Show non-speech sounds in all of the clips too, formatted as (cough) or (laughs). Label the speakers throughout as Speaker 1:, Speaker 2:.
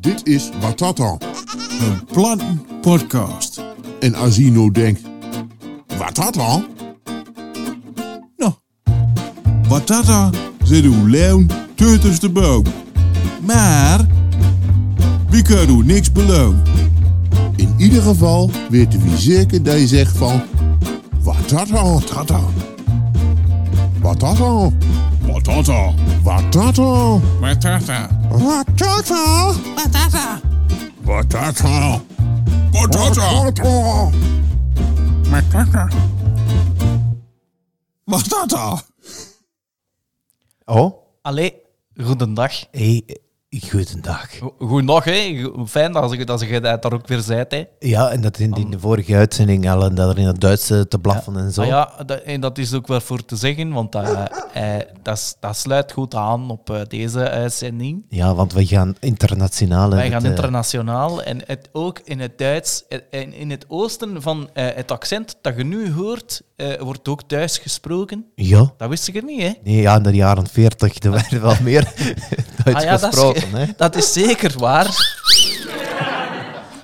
Speaker 1: Dit is Watata.
Speaker 2: Een plantenpodcast.
Speaker 1: En Azino denkt, Watata?
Speaker 2: Nou, Watata zit uw leeuw tussen de boom. Maar, wie kan u niks beloon.
Speaker 1: nou In ieder geval weten we zeker dat je zegt van, Watata. Tata. Watata.
Speaker 2: Watata.
Speaker 1: Watata.
Speaker 2: Watata.
Speaker 1: Watata.
Speaker 2: Watata.
Speaker 1: Watata.
Speaker 2: Watata.
Speaker 1: Watata.
Speaker 2: Watata. Watata.
Speaker 3: Oh,
Speaker 4: Allee, goedendag.
Speaker 3: hey, eh, goedendag.
Speaker 4: Go- Goedendag, hè. Go- Fijn dat je dat, je dat daar ook weer zijt, hè.
Speaker 3: Ja, en dat in, in de vorige uitzending al, en dat er in het Duits eh, te blaffen en zo.
Speaker 4: Ah ja, dat, en dat is ook wel voor te zeggen, want dat, eh, eh, dat, s- dat sluit goed aan op eh, deze uitzending.
Speaker 3: Ja, want we gaan internationaal. en
Speaker 4: Wij
Speaker 3: het,
Speaker 4: gaan
Speaker 3: eh,
Speaker 4: internationaal en het ook in het Duits. eh, En in het oosten van eh, het accent dat je nu hoort, eh, wordt ook Duits gesproken.
Speaker 3: ja.
Speaker 4: Dat wist ik er niet, hè?
Speaker 3: Nee, ja, in de jaren 40 er werd wel
Speaker 4: (laughs)
Speaker 3: meer (laughs) Duits
Speaker 4: Ah ja, dat is-
Speaker 3: gesproken. hè.
Speaker 4: (laughs) Dat is zeker waar.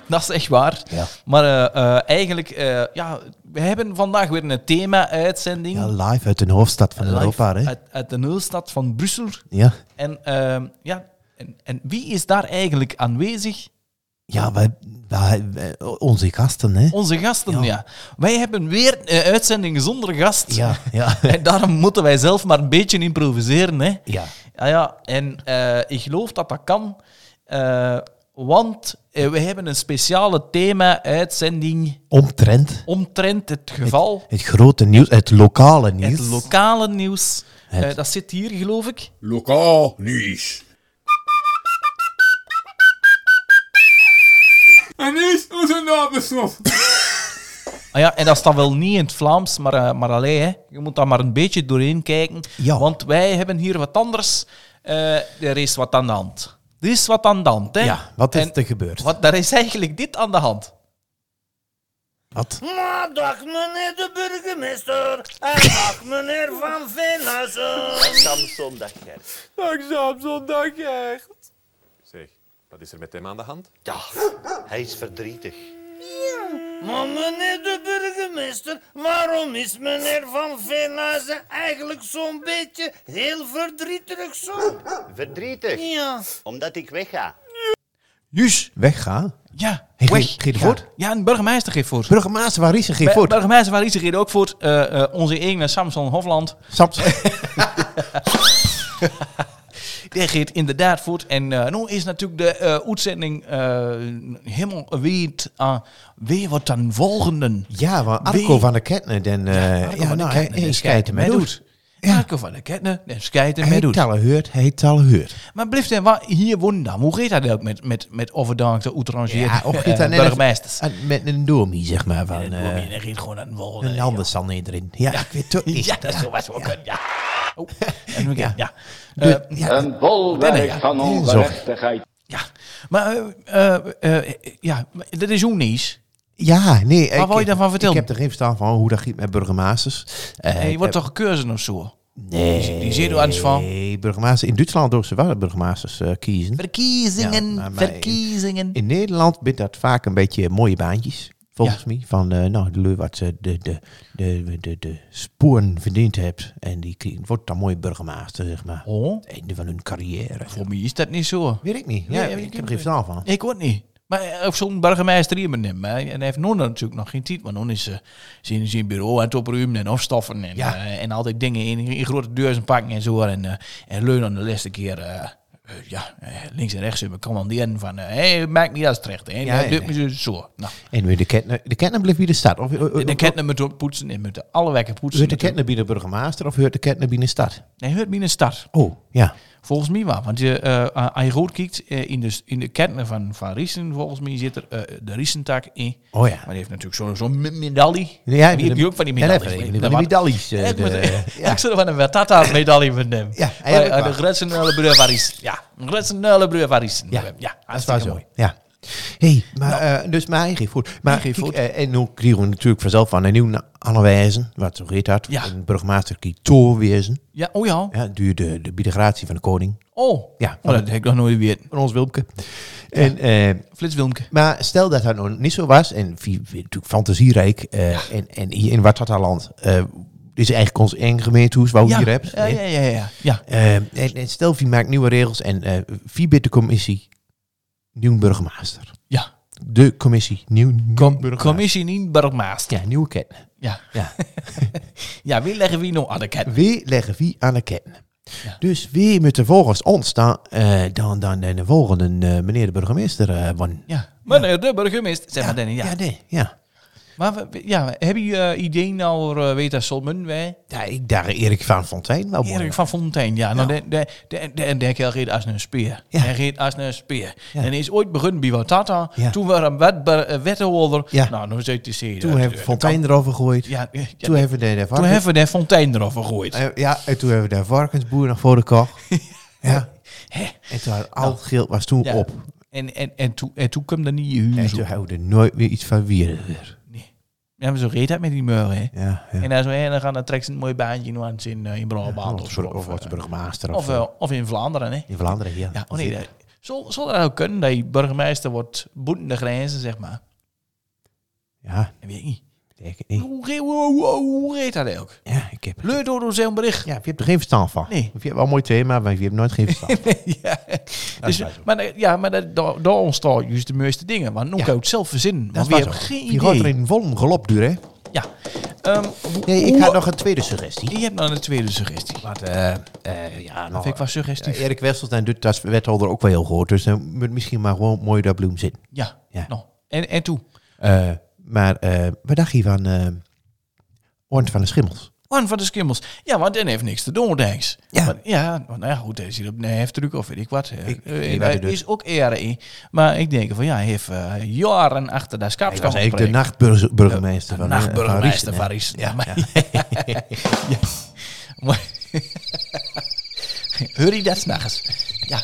Speaker 4: Dat is echt waar.
Speaker 3: Ja.
Speaker 4: Maar eh, eh, eigenlijk, eh, ja, we hebben vandaag weer een thema-uitzending.
Speaker 3: Ja, live uit de hoofdstad van
Speaker 4: Live
Speaker 3: Europa. Hè?
Speaker 4: Uit, uit de hoofdstad van Brussel.
Speaker 3: Ja.
Speaker 4: En, ehm, ja, en, en wie is daar eigenlijk aanwezig?
Speaker 3: Ja, wij, wij- wij- onze gasten, hè?
Speaker 4: Onze gasten,
Speaker 3: Ja.
Speaker 4: ja. Wij hebben weer een uitzending zonder gast.
Speaker 3: Ja, ja.
Speaker 4: (laughs) En daarom moeten wij zelf maar een beetje improviseren. Hè.
Speaker 3: Ja.
Speaker 4: Ja, ja. En eh, ik geloof dat dat kan, eh, want eh, we hebben een speciale thema-uitzending
Speaker 3: Omtrent
Speaker 4: omtrent het geval.
Speaker 3: het grote nieuws, het lokale nieuws.
Speaker 4: Het lokale nieuws.
Speaker 3: Het-
Speaker 4: Eh, dat zit hier, geloof ik.
Speaker 1: Lokaal nieuws.
Speaker 5: En is onze nabeslot.
Speaker 4: Ah ja, en dat staat wel niet in het Vlaams, maar, eh, maar allee, hè. je moet daar maar een beetje doorheen kijken.
Speaker 3: Ja.
Speaker 4: Want wij hebben hier wat anders. Eh, er is wat aan de hand. Er is wat aan de hand, hè?
Speaker 3: ja, wat is
Speaker 4: En
Speaker 3: er gebeurd?
Speaker 4: Wat, daar is eigenlijk dit aan de hand.
Speaker 3: Wat?
Speaker 6: Maar dag meneer de burgemeester en dag meneer Van Veenhuizen. Samson, dag Gert.
Speaker 7: Zeg, wat is er met hem aan de hand?
Speaker 6: Ja, hij is verdrietig. Maar meneer de burgemeester, waarom is meneer Van Veenhuizen eigenlijk zo'n beetje heel verdrietig zo?
Speaker 8: Verdrietig,
Speaker 6: Ja.
Speaker 8: omdat ik wegga.
Speaker 4: Juus.
Speaker 3: Wegga?
Speaker 4: Ja,
Speaker 3: Hey,
Speaker 4: weg.
Speaker 3: geef- geef
Speaker 4: ja.
Speaker 3: voort.
Speaker 4: Ja, een burgemeester geeft voor.
Speaker 3: Burgemeester, waar is er geen
Speaker 4: Bij-
Speaker 3: voort?
Speaker 4: Burgemeester waar is er hier ook voor. Eh, eh, onze eigen Samson Hofland. (laughs)
Speaker 3: Samson.
Speaker 4: Die geeft inderdaad voort. En eh nu is natuurlijk de eh, uitzending eh, helemaal weet, aan weer wat dan volgende.
Speaker 3: Ja, maar Arco
Speaker 4: Wie?
Speaker 3: van der Ketne, dan... eh,
Speaker 4: Arco
Speaker 3: ja,
Speaker 4: van der
Speaker 3: nou, hij,
Speaker 4: Ketne,
Speaker 3: hij
Speaker 4: die
Speaker 3: scheidt
Speaker 4: mij
Speaker 3: ermee doet. Ja. nou.
Speaker 4: Arco van de Ketne, en schijten
Speaker 3: Hij
Speaker 4: mij
Speaker 3: heeft
Speaker 4: doet.
Speaker 3: al gehoord, hij heeft al gehoord.
Speaker 4: Maar blijft hij wa- hier wonen dan? Hoe gaat dat ook met, met, met overdankte, outrageerde
Speaker 3: Ja,
Speaker 4: ja,
Speaker 3: of gaat dat net
Speaker 4: burgemeesters?
Speaker 3: als- Met een domie, zeg maar, van...
Speaker 4: En
Speaker 3: eh,
Speaker 4: hij reed gewoon aan het volgende.
Speaker 3: een ander zal niet erin. Ja, ik weet het ook niet.
Speaker 4: (laughs) Ja, dat is zomaar zo. Ja. ja. Oh, en we gaan, (laughs) ja. Eh,
Speaker 3: De- ja,
Speaker 9: Een bolwerk
Speaker 4: ja.
Speaker 9: van
Speaker 4: eh?
Speaker 9: ongerechtigheid.
Speaker 4: ja. Maar, eh, eh, eh, ja, maar dat is ook niets.
Speaker 3: ja, nee.
Speaker 4: Waar
Speaker 3: ik-
Speaker 4: wou je daarvan vertellen?
Speaker 3: Ik heb er geen verstand van hoe dat giet met burgemeesters. Eh,
Speaker 4: Eh,
Speaker 3: ik
Speaker 4: Je wordt
Speaker 3: heb-
Speaker 4: toch gekozen of zo?
Speaker 3: Nee.
Speaker 4: die zit er anders van.
Speaker 3: Nee, burgemeesters... In Duitsland doen ze wel burgemeesters eh, kiezen.
Speaker 4: Verkiezingen,
Speaker 3: Ja, maar- maar-
Speaker 4: verkiezingen.
Speaker 3: In Nederland biedt dat vaak een beetje mooie baantjes. Volgens
Speaker 4: Ja.
Speaker 3: mij. Van eh, nou, de lui wat ze de, de, de, de, de sporen verdiend hebt. En die krie- wordt dan mooi burgemeester, zeg maar.
Speaker 4: Oh,
Speaker 3: Het einde van hun carrière.
Speaker 4: voor mij is dat niet zo.
Speaker 3: Weet ik niet. Ja,
Speaker 4: Nee,
Speaker 3: ik heb er geen verhaal van.
Speaker 4: Ik ook niet. Maar eh, of zo'n burgemeester hier neemt. En hij heeft nu natuurlijk nog geen tijd. Maar nu is eh, zijn, zijn bureau aan het opruimen en afstaffen. En,
Speaker 3: Ja.
Speaker 4: eh, en altijd dingen in, in grote deuren pakken en zo. En, eh en leun aan de laatste keer... eh, eh, ja, eh, links en rechts hebben commanderen van... eh hey, maak niet als terecht. Hè.
Speaker 3: Ja,
Speaker 4: Ja,
Speaker 3: ja,
Speaker 4: doet
Speaker 3: ja.
Speaker 4: me zo- zo. Nou,
Speaker 3: En weer de ketner. De ketner blijft bij de stad. Of, eh,
Speaker 4: en de ketenen moeten poetsen. En moeten alle wekken poetsen.
Speaker 3: Heurt de ketner bij de burgemeester of heurt de ketner bij de stad?
Speaker 4: Nee, hoort me een start.
Speaker 3: Oh, ja.
Speaker 4: Volgens mij wel, want je, eh, als je goed kijkt, eh, in, de, in de kernen van, van Riesen, volgens mij zit er eh, de Riesentak in.
Speaker 3: Oh
Speaker 4: Maar
Speaker 3: ja.
Speaker 4: die heeft natuurlijk zo'n zo'n me- medaille.
Speaker 3: Ja,
Speaker 4: die heb je ook van die
Speaker 3: Ja,
Speaker 4: medailles.
Speaker 3: van die-
Speaker 4: Nee,
Speaker 3: van die
Speaker 4: maar-
Speaker 3: medailles. eh,
Speaker 4: Ja, ik moet-
Speaker 3: de- ja.
Speaker 4: Ik zou van een Watata medaille van hem.
Speaker 3: Ja,
Speaker 4: Maar,
Speaker 3: eigenlijk
Speaker 4: eh,
Speaker 3: wel.
Speaker 4: de Gretzenelle broer van Riesen. Ja, een Gretzenelle broer van Riesen.
Speaker 3: Ja,
Speaker 4: ja
Speaker 3: Dat is wel
Speaker 4: hartstikke
Speaker 3: zo.
Speaker 4: mooi. Nou.
Speaker 3: Ja. hey, maar, eh, dus mijn eigen voet. Maar
Speaker 4: Eigen
Speaker 3: kijk,
Speaker 4: voet.
Speaker 3: eh, en nu krijgen we natuurlijk vanzelf van een nieuwe aanwijzen, wat zo heet dat.
Speaker 4: Ja.
Speaker 3: Een burgemeester kiet toorwezen.
Speaker 4: Ja, oh ja.
Speaker 3: Ja, duur de, de bidegratie van de koning.
Speaker 4: Oh.
Speaker 3: Ja,
Speaker 4: Oh, dat heb ik nog nooit weer.
Speaker 3: Van ons Wilmke. En, eh,
Speaker 4: Flits Wilmke.
Speaker 3: maar stel dat dat nog niet zo was, en vi- vi- natuurlijk fantasierijk, eh, en, en hier in Watatterland eh is eigenlijk ons eigen gemeentehuis, waar we hier hebt.
Speaker 4: Ja,
Speaker 3: hè.
Speaker 4: ja, ja, ja. ja.
Speaker 3: Eh, en, en stel, wie maakt nieuwe regels en eh wie biedt de commissie nieuw burgemeester?
Speaker 4: ja.
Speaker 3: De commissie nieuw
Speaker 4: Com
Speaker 3: burgemeester.
Speaker 4: commissie niet burgmaast.
Speaker 3: Ja, nieuwe ketten.
Speaker 4: Ja. (laughs)
Speaker 3: Ja.
Speaker 4: ja, wie leggen wie nog aan de ket?
Speaker 3: Wie leggen wie aan de ketten?
Speaker 4: Ja.
Speaker 3: Dus wie moeten volgens ons dan, eh, dan, dan, dan de volgende eh, meneer de burgemeester eh worden?
Speaker 4: Ja. Meneer de burgemeester, zeg maar Danny. Ja.
Speaker 3: nee, ja.
Speaker 4: Maar we- we- ja, heb je eh, idee nou, uh, weet dat Solmen, wij?
Speaker 3: Ja, ik daar Erik van Fontijn wel mooi.
Speaker 4: Erik van Fontein, ja. Nou, de- de- de- de- En daar reed als een speer.
Speaker 3: Ja.
Speaker 4: Hij reed als een speer.
Speaker 3: Ja.
Speaker 4: En hij is ooit begonnen bij Watata.
Speaker 3: Ja.
Speaker 4: Toen waren we eh, wethouder.
Speaker 3: Ja.
Speaker 4: Nou, nu zit hij zeer.
Speaker 3: Toen hebben we Fontijn erover gegooid.
Speaker 4: Ja, ja, ja.
Speaker 3: Toen hebben we de, de
Speaker 4: Toen
Speaker 3: varkens-
Speaker 4: hebben we de Fontein erover gegooid.
Speaker 3: eh, ja, en toen hebben we de varkensboer nog voor de
Speaker 4: (laughs)
Speaker 3: koch. ja. En toen had al het geld was toen
Speaker 4: Nou. Ja.
Speaker 3: op.
Speaker 4: En, en, en, toen, en toen kwam er niet je
Speaker 3: En
Speaker 4: huur.
Speaker 3: toen houden we nooit weer iets van wieren weer.
Speaker 4: Ja, maar zo reed dat met die meuren, hè.
Speaker 3: Ja, ja.
Speaker 4: En dan, zo, hè, dan gaan dan trekt ze een mooi baantje nu aan in, eh, in Brabant
Speaker 3: of,
Speaker 4: of zo.
Speaker 3: voor- of
Speaker 4: Of,
Speaker 3: als
Speaker 4: eh,
Speaker 3: burgemeester.
Speaker 4: of,
Speaker 3: eh,
Speaker 4: eh, of in Vlaanderen, hè.
Speaker 3: in Vlaanderen, ja.
Speaker 4: Ja, oh nee, dat- zal, zal dat ook kunnen, dat je burgemeester wordt boeten de grenzen, zeg maar?
Speaker 3: Ja,
Speaker 4: Dat weet ik niet.
Speaker 3: denk ik niet.
Speaker 4: Hoe, re- hoe, hoe, hoe reed dat ook?
Speaker 3: Ja, ik heb...
Speaker 4: Leur door door zo'n bericht.
Speaker 3: Ja, je hebt er geen verstand van.
Speaker 4: Nee.
Speaker 3: Je hebt wel een mooi thema, maar je hebt nooit geen verstand van.
Speaker 4: ja. (laughs) Dus, maar dat- ja, maar dat, daar, daar ontstaan juist de meeste dingen. Want nu
Speaker 3: Ja.
Speaker 4: kan je het zelf verzinnen. Maar
Speaker 3: (laughs) Dat
Speaker 4: we
Speaker 3: was
Speaker 4: hebben
Speaker 3: ook.
Speaker 4: geen
Speaker 3: Je gaat er
Speaker 4: idee.
Speaker 3: in vol galop duur, hè?
Speaker 4: Ja. Ehm, hoe-
Speaker 3: Nee, ik
Speaker 4: hoe-
Speaker 3: had nog een tweede suggestie.
Speaker 4: Je hebt nou een tweede suggestie.
Speaker 3: Wat, eh, eh, ja, nou,
Speaker 4: Vind ik wel
Speaker 3: Ja,
Speaker 4: suggestief. Ja,
Speaker 3: Erik Westelstein doet dat als wethouder ook wel heel goed. Dus dan moet misschien maar gewoon mooi daar bloem zitten. Ja.
Speaker 4: Nou, en, en toe.
Speaker 3: Eh, maar eh wat dacht je van eh Ornt van de Schimmels?
Speaker 4: One van de skimmels. Ja, want den heeft niks te doen, thanks.
Speaker 3: Ja.
Speaker 4: Want, ja, want nou ja, goed, hij zit op een heftruc of weet ik wat. Eh,
Speaker 3: Ik-
Speaker 4: eh,
Speaker 3: ik weet dus. wat
Speaker 4: daar
Speaker 3: hij doet.
Speaker 4: is ook ere in. Maar ik denk van ja, hij heeft eh, jaren achter dat
Speaker 3: Hij
Speaker 4: schapskamp
Speaker 3: was eigenlijk de
Speaker 4: gepreekt.
Speaker 3: nachtburgemeester van, eh, van
Speaker 4: nachtburgemeester
Speaker 3: Riesen, hè?
Speaker 4: van Riesen. Ja,
Speaker 3: Ja,
Speaker 4: maar- (laughs) Ja. Maar- (laughs) Hoor je dat s'nachts? Ja.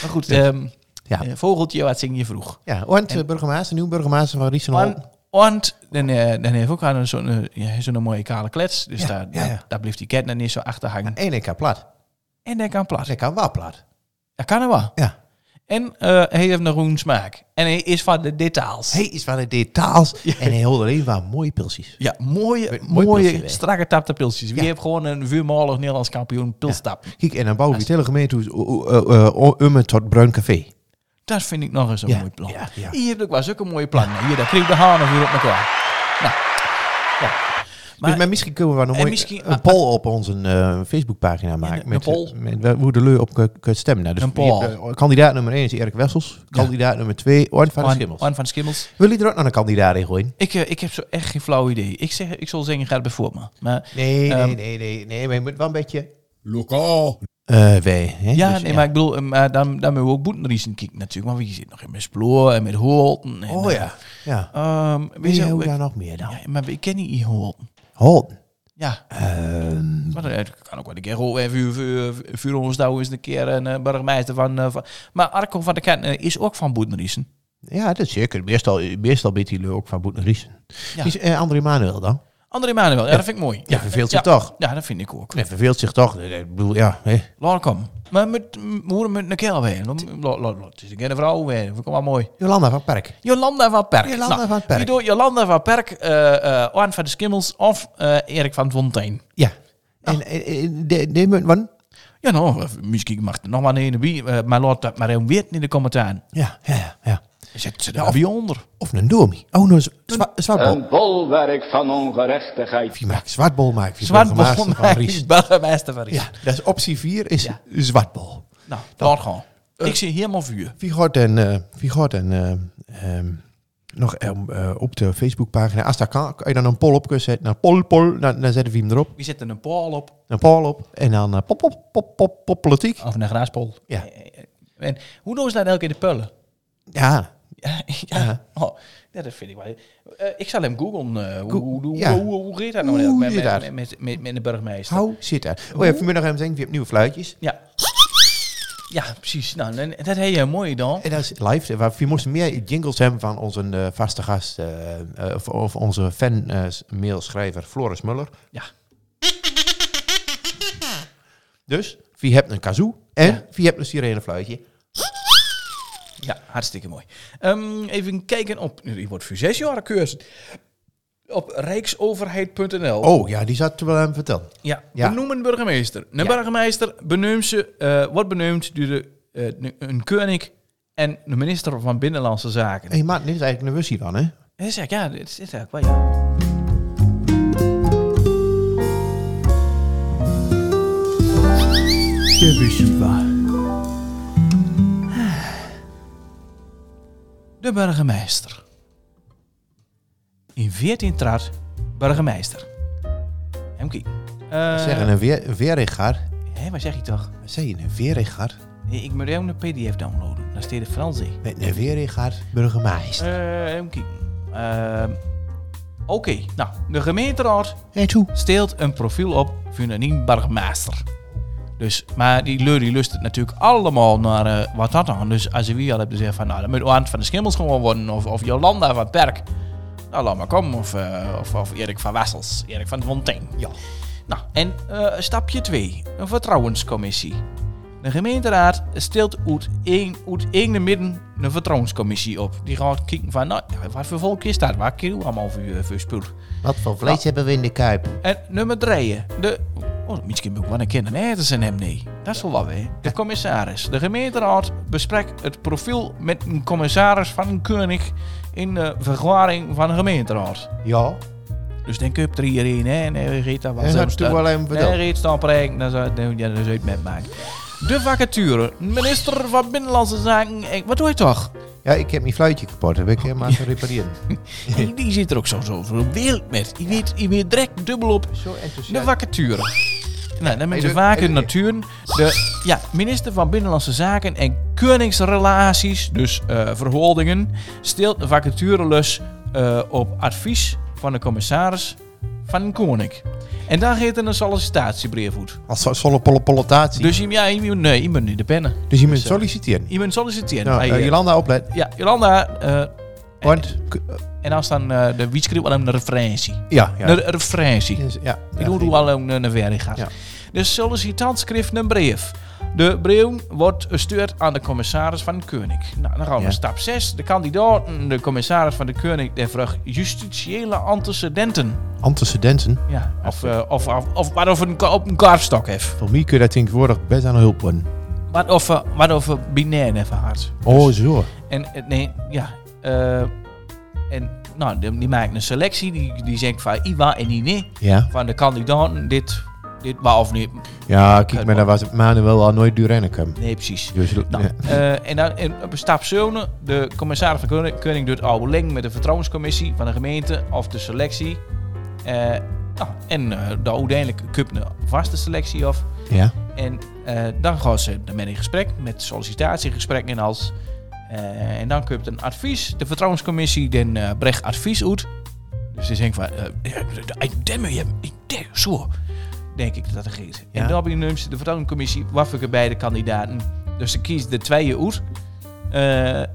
Speaker 4: Maar goed, ehm,
Speaker 3: Ja.
Speaker 4: eh, vogeltje, wat zing je vroeg?
Speaker 3: Ja, Ornt, eh, burgemeester, nieuw burgemeester van Riesenhoorn.
Speaker 4: Want, want dan, eh, dan heeft ook aan een zo'n eh, ja, zo'n mooie kale klets. Dus
Speaker 3: Ja,
Speaker 4: daar,
Speaker 3: ja, ja.
Speaker 4: daar, daar blijft die cat dan niet zo achter hangen.
Speaker 3: Eén ik kan plat.
Speaker 4: En daar kan plaats.
Speaker 3: Ze kan wel plat.
Speaker 4: Dat kan er wel.
Speaker 3: Ja.
Speaker 4: En eh, hij heeft een groen smaak. En hij is van de details.
Speaker 3: Hij is van de
Speaker 4: (laughs)
Speaker 3: details en hij hield alleen maar mooie pilsjes.
Speaker 4: Ja, mooie,
Speaker 3: Mooi
Speaker 4: mooie
Speaker 3: pilsje, hè?
Speaker 4: strakke tapte pilsjes. Wie
Speaker 3: Ja.
Speaker 4: heeft gewoon een vuurmalig Nederlands kampioen pilstap?
Speaker 3: Kijk, en dan bouwen we het hele gemeente eh, om tot bruin café.
Speaker 4: Dat vind ik nog eens een
Speaker 3: Ja,
Speaker 4: mooi plan.
Speaker 3: ja, ja.
Speaker 4: Hier heb ik wel zulke mooie plannen. Hier, daar kreeg de hanen weer op elkaar. Nou, ja.
Speaker 3: Maar, dus, maar misschien kunnen we wel een,
Speaker 4: en
Speaker 3: mooi,
Speaker 4: misschien-
Speaker 3: een poll op onze eh, Facebookpagina maken.
Speaker 4: een
Speaker 3: met,
Speaker 4: poll?
Speaker 3: met waar- hoe de leur op kun- kunt stemmen. Nou, dus
Speaker 4: Een poll.
Speaker 3: je hebt, eh, kandidaat nummer 1 is Erik Wessels. Kandidaat nummer 2, Orn van de
Speaker 4: Juan-
Speaker 3: Schimmels.
Speaker 4: Juan van Schimmels.
Speaker 3: Wil je er ook nog een kandidaat in gooien?
Speaker 4: Ik, eh, ik heb zo echt geen flauw idee. Ik, zeg, ik zal zeggen, ga bijvoorbeeld maar. maar
Speaker 3: Nee,
Speaker 4: Ehm,
Speaker 3: nee, nee, nee, nee. Maar je moet wel een beetje...
Speaker 5: Lokaal.
Speaker 3: eh wij, hè?
Speaker 4: ja,
Speaker 3: Dus,
Speaker 4: nee, maar ik bedoel, eh, maar dan, dan moeten we ook boetenriesen kijken natuurlijk. Want je zit nog in met Sploor en met Holten. En,
Speaker 3: Oh ja, ja.
Speaker 4: eh, ehm, weet
Speaker 3: Wie
Speaker 4: je,
Speaker 3: hebben
Speaker 4: we-
Speaker 3: we daar nog meer dan?
Speaker 4: ja, maar we kennen niet Holten.
Speaker 3: Holten.
Speaker 4: Ja, maar dat- dat kan ook wel een keer oh, eh, vuur, vuur, vuur ons nou eens een keer een eh, burgemeester van, eh, van- Maar Arco van der Kent eh, is ook van boetenriesen.
Speaker 3: Ja, dat is zeker. Meestal, meestal biedt die leur ook van Boeten Riesen.
Speaker 4: Ja.
Speaker 3: Is eh, André Manuel dan?
Speaker 4: André Manuel, ja, dat vind ik mooi. Ja,
Speaker 3: verveelt
Speaker 4: ja,
Speaker 3: zich toch?
Speaker 4: Ja, dat vind ik ook.
Speaker 3: Nee, verveelt zich toch? Nee, nee, Ik bedoel, ja. Hè.
Speaker 4: Laat kom. Maar met, hoe met een kerel weer? Laat- laat- laat- Het is een keer een vrouw weer. Vind ik wel mooi.
Speaker 3: Jolanda van Perk.
Speaker 4: Jolanda van Perk.
Speaker 3: Jolanda van Perk.
Speaker 4: Hierdoor Jolanda van Perk, eh eh Arn van de Skimmels of eh, Erik van Fontijn.
Speaker 3: Ja. En, en, en de, de, munt van-
Speaker 4: Ja, nou, eh, misschien mag er nog maar een ene bij, eh, maar laat dat maar even weten in de commentaar.
Speaker 3: Ja, ja, ja, ja.
Speaker 4: Zet ze daar weer onder.
Speaker 3: Of een domi. Oh, nou, zwa, zwartbol.
Speaker 9: Een bolwerk van ongerechtigheid.
Speaker 3: Die maakt zwartbol, maakt die
Speaker 4: Zwart
Speaker 3: burgemeester
Speaker 4: begon
Speaker 3: van Ries.
Speaker 4: burgemeester van Ries.
Speaker 3: Ja, dat is optie 4 is
Speaker 4: Ja.
Speaker 3: zwartbol.
Speaker 4: Nou, laat gaan.
Speaker 3: eh,
Speaker 4: Ik zie helemaal vuur.
Speaker 3: Wie gaat en, eh, wie gaat en eh, ehm, nog ehm, eh, op de Facebookpagina, als dat kan, kan je dan een poll op kunnen zetten. Nou, poll, poll, dan, dan zetten we hem erop.
Speaker 4: Wie zet er een paal op?
Speaker 3: Een poll op en dan eh, pop, pop, pop, pop, pop, politiek.
Speaker 4: Of een graaspol.
Speaker 3: Ja.
Speaker 4: Eh, En hoe doen ze dat elke keer de pullen? (laughs)
Speaker 3: Ja,
Speaker 4: Ja, ja. Oh, ja, dat vind ik wel. Eh, ik zal hem googlen. eh, hoe,
Speaker 3: Go-
Speaker 4: hoe, hoe,
Speaker 3: ja.
Speaker 4: hoe, hoe, heet dat nou?
Speaker 3: Hoe
Speaker 4: eigenlijk
Speaker 3: heet dat?
Speaker 4: met, met, met, met, met de burgemeester.
Speaker 3: hoe zit dat? Oh ja, vanmiddag hebben we gezegd, we hebben nieuwe fluitjes.
Speaker 4: Ja. Ja, precies. Nou, en dat heb je mooi dan.
Speaker 3: En dat is live. Eh, We- We moesten meer jingles hebben van onze eh, vaste gast, eh, eh, of, of onze fan-mailschrijver Floris Muller.
Speaker 4: Ja.
Speaker 3: Dus, wie hebt een kazoo en wie hebt een sirenefluitje.
Speaker 4: Ja, hartstikke mooi. Ehm, even kijken op... Je wordt voor zes jaar cursus. Op rijksoverheid.nl.
Speaker 3: Oh ja, die zat wel aan het vertellen.
Speaker 4: Ja,
Speaker 3: Ja.
Speaker 4: benoemen burgemeester.
Speaker 3: Ja.
Speaker 4: Een burgemeester benoemt ze, eh, wordt benoemd door de, eh, een koning en de minister van Binnenlandse Zaken.
Speaker 3: Hé, maar dit is eigenlijk een wussie van, hè?
Speaker 4: En dan zeg ik, ja, dit is dit is eigenlijk wel ja.
Speaker 3: De wussie van.
Speaker 4: De burgemeester. In 14 trad burgemeester. Hemkie. Eh,
Speaker 3: Zeg, een weer- een weerregaard.
Speaker 4: Hé, wat zeg je toch?
Speaker 3: Wat zei je, een weerregaard?
Speaker 4: Nee, Ik moet even een pdf downloaden. Daar staat de Frans in.
Speaker 3: Nee, een weerregaard, burgemeester.
Speaker 4: Eh, even kijken. Ehm, Oké, nou, de gemeenteraad
Speaker 3: Nee, toe.
Speaker 4: steelt een profiel op van een nieuw burgemeester. Dus, maar die leur die lust het natuurlijk allemaal naar eh, wat dat dan. Dus als je wie al hebt gezegd van nou, dat moet Oant van de Schimmels gewoon worden. Of, of Jolanda van Perk. Nou, laat maar komen. Of, eh, of, of Erik van Wessels. Erik van Fontijn. Ja. Nou, en eh, stapje 2. Een vertrouwenscommissie. De gemeenteraad stelt uit één, uit één de midden een vertrouwenscommissie op. Die gaat kijken van, nou, ja, wat voor volk is dat? Waar kunnen we allemaal voor, eh, voor spul?
Speaker 3: Wat voor vlees hebben we in de kuip?
Speaker 4: En nummer drie, de... Oh, misschien moet ik wel een keer een eten zijn hem, nee. Dat is wel wat, hè. De commissaris. De gemeenteraad bespreekt het profiel met een commissaris van een koning in de verklaring van de gemeenteraad.
Speaker 3: Ja.
Speaker 4: Dus dan kun je er hierin, hè. Nee, we gaan dat wel
Speaker 3: En
Speaker 4: zo
Speaker 3: dat doe wel even verteld.
Speaker 4: Nee, reeds dan preken, dan zou het- dan- ja, dan zou je dus het metmaken. De vacature. Minister van Binnenlandse Zaken. eh, Wat doe je
Speaker 3: (laughs)
Speaker 4: toch?
Speaker 3: Ja, ik heb mijn fluitje kapot. Heb ik hem maar te repareren.
Speaker 4: Die, die zit er ook zo, zo, zo wild met. Die weet, die weet direct dubbel op.
Speaker 3: (laughs) Zo
Speaker 4: De
Speaker 3: enthousiast.
Speaker 4: vacature. Nou, dan mensen
Speaker 3: doet-
Speaker 4: vaker
Speaker 3: hij doet-
Speaker 4: natuur. De ja, minister van Binnenlandse Zaken en Koningsrelaties, dus eh verholdingen, steelt de vacaturelus eh, op advies van de commissaris van een koning. En daar geeft er een sollicitatiebrief uit.
Speaker 3: Als zo- zolle polle polletatie. Dus,
Speaker 4: Dus je- ja, je moet- nee, je moet niet de pennen.
Speaker 3: je moet solliciteren.
Speaker 4: Je moet solliciteren.
Speaker 3: Nou,
Speaker 4: Hij,
Speaker 3: eh,
Speaker 4: eh,
Speaker 3: Jolanda, oplet.
Speaker 4: ja, Jolanda. eh,
Speaker 3: Want, k- eh,
Speaker 4: en dan staan eh, de wietskriep aan een referentie.
Speaker 3: ja, ja.
Speaker 4: Een referentie.
Speaker 3: Dus, ja,
Speaker 4: Nou, Ik doe hoe wel een, een verre gaat.
Speaker 3: Ja.
Speaker 4: De sollicitant schrijft een brief. De brief wordt gestuurd aan de commissaris van de koning. Nou, dan gaan we
Speaker 3: Ja.
Speaker 4: stap 6. De kandidaat, de commissaris van de koning, die vraagt justitiële antecedenten.
Speaker 3: Antecedenten.
Speaker 4: Ja, of, eh, of, of, of wat of een, ka- op een kaartstok heeft.
Speaker 3: Voor mij kun je dat tegenwoordig best aan de hulp worden.
Speaker 4: Wat of, eh, wat of een binair heeft gehad.
Speaker 3: Oh, zo.
Speaker 4: En eh, nee, ja. eh, en nou, die, die maakt een selectie. Die, die zegt van Iwa en Ine.
Speaker 3: Ja.
Speaker 4: Van de kandidaten, dit, dit, maar of niet.
Speaker 3: Ja, kijk, maar dat was Manuel al nooit duurrennen.
Speaker 4: Nee, precies.
Speaker 3: Dus,
Speaker 4: Nou,
Speaker 3: ja.
Speaker 4: eh, en dan en op stap 7, de commissaris van Koning, Koning doet overleg met de vertrouwenscommissie van de gemeente of de selectie. Eh, nou, en eh dan uiteindelijk kupt een vaste selectie af.
Speaker 3: ja.
Speaker 4: En eh, dan gaan ze daarmee in gesprek, met sollicitatiegesprekken en als. Eh, en dan kupt een advies. De vertrouwenscommissie den eh, brecht advies uit. Dus ze denken van, eh, ik denk me, ik denk zo. Denk ik dat dat geeft.
Speaker 3: Ja.
Speaker 4: En dan benoemt ze de vertrouwenscommissie waffelijke beide kandidaten. Dus ze kiest de tweeën uit. Eh, eh,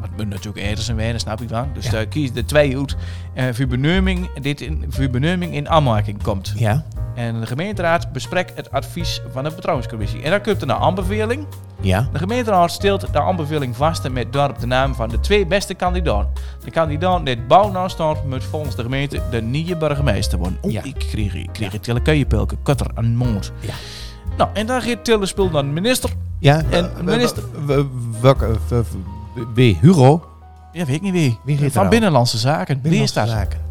Speaker 4: wat moet natuurlijk ergens en weinig, snap ik van. Dus
Speaker 3: Ja.
Speaker 4: ze kiest de tweeën uit. eh voor benoeming, dit in, voor benoeming in aanmerking komt.
Speaker 3: Ja.
Speaker 4: En de gemeenteraad bespreekt het advies van de vertrouwenscommissie. En dan komt er een aanbeveling.
Speaker 3: Ja.
Speaker 4: De gemeenteraad stelt de aanbeveling vast en met daarop de naam van de twee beste kandidaten. De kandidaat die het bouwnaast staat moet volgens de gemeente de nieuwe burgemeester worden. Oeh,
Speaker 3: Ja.
Speaker 4: ik kreeg, ik kreeg het telekeuiepelke, kutter en mond.
Speaker 3: Ja.
Speaker 4: Nou, en dan gaat Tillespul naar de minister.
Speaker 3: Ja.
Speaker 4: En
Speaker 3: eh, w-
Speaker 4: minister-
Speaker 3: w- Welke? w- w- Wie? Hugo?
Speaker 4: Ja, weet ik niet wie.
Speaker 3: Wie gaat er
Speaker 4: van
Speaker 3: al?
Speaker 4: Binnenlandse Zaken. Wie is dat?
Speaker 3: Binnenlandse zaken.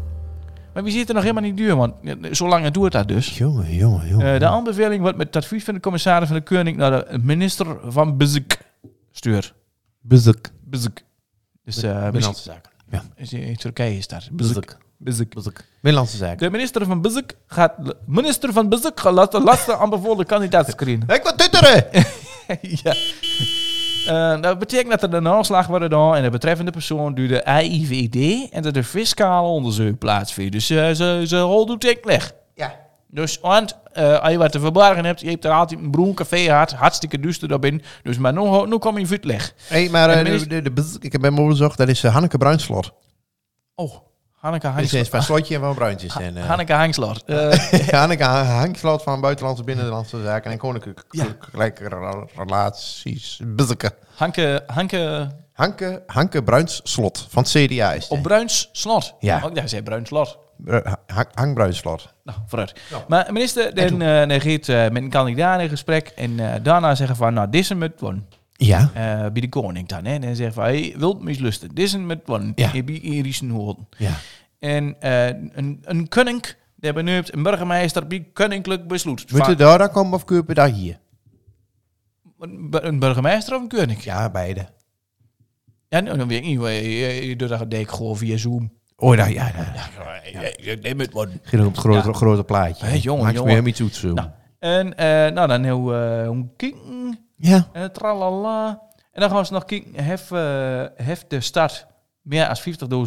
Speaker 4: Maar wie zit er nog helemaal niet duur, want eh, zo lang doet dat dus.
Speaker 3: Jongen, jongen, jongen.
Speaker 4: Eh, de aanbeveling wordt met het advies van de commissaris van de Koning naar de minister van Bezek stuur.
Speaker 3: Bezuk.
Speaker 4: Bezek. Dus eh,
Speaker 3: Binnenlandse zaken.
Speaker 4: is- in Turkije is daar.
Speaker 3: Bezuk.
Speaker 4: Bezek.
Speaker 3: Binnenlandse zaken.
Speaker 4: De minister van Bezek gaat. Minister van Bezek gaat laten lasten aanbevolen kandidaat screenen.
Speaker 3: Ik wil tutteren!
Speaker 4: (laughs) ja. Eh, dat betekent dat er een aanslag wordt gedaan en de betreffende persoon doet de AIVD en dat er fiscale onderzoek plaatsvindt. Dus eh, ze, ze holdoet ik leg.
Speaker 3: ja.
Speaker 4: Dus, want eh, als je wat te verbergen hebt, je hebt er altijd een broer café gehad, hartstikke duister daarbinnen. Dus, maar nu, nu kom je vuur leg.
Speaker 3: Hey, maar
Speaker 4: En
Speaker 3: eh,
Speaker 4: meest-
Speaker 3: de, de, de bzz, ik heb bij me bezocht, dat is eh, Hanneke Bruinslot.
Speaker 4: Oh, Hanneke
Speaker 3: Die is van
Speaker 4: Hangslot.
Speaker 3: Slotje en van Bruintjes. En, eh,
Speaker 4: (laughs) Hanneke Hangslot. Eh,
Speaker 3: (laughs) Hanneke Ha- Hankslot van Buitenlandse, Binnenlandse Zaken en Koninklijke
Speaker 4: Ja.
Speaker 3: Koninklijke Ra- Relaties. Bzzke.
Speaker 4: Hanke, Hanke
Speaker 3: Hanke, Hanke Bruinslot van het CDA is
Speaker 4: op
Speaker 3: die.
Speaker 4: Bruins Slot.
Speaker 3: Eh. Ja.
Speaker 4: Oh, ik zei Bruins Slot.
Speaker 3: Br- Ha- Ha- Hank Bruinslot.
Speaker 4: Nou, vooruit. Maar minister, dan, eh dan gaat eh, met een kandidaat in gesprek en eh, daarna zeggen van, nou, dit is hem het worden.
Speaker 3: Ja.
Speaker 4: Eh, bij de koning dan. Hè. En dan zeggen van, hey, wilt mislusten. Dit is hem het worden.
Speaker 3: Ja.
Speaker 4: Je bent hier iets in horen.
Speaker 3: ja.
Speaker 4: En eh, een, een koning, die benuipt een burgemeester bij koninklijk besluit.
Speaker 3: Moet je
Speaker 4: Van-
Speaker 3: daar dan komen of kun je daar hier?
Speaker 4: een, bur- een burgemeester of een koning? Ja.
Speaker 3: Ja, beide.
Speaker 4: nou, dan weet ik niet. eh, Je, je doet dat denk ik gewoon via Zoom.
Speaker 3: Oh, daar, ja, ja.
Speaker 4: Neem het worden.
Speaker 3: Ging op het grote, grote plaatje.
Speaker 4: Hey, jongen,
Speaker 3: Maakt
Speaker 4: jongen.
Speaker 3: me helemaal iets uit zo.
Speaker 4: Nou, en eh, nou, dan heel eh een king
Speaker 3: Ja.
Speaker 4: en tralala. En dan gaan ze nog kijken, heeft, eh, heeft de stad meer dan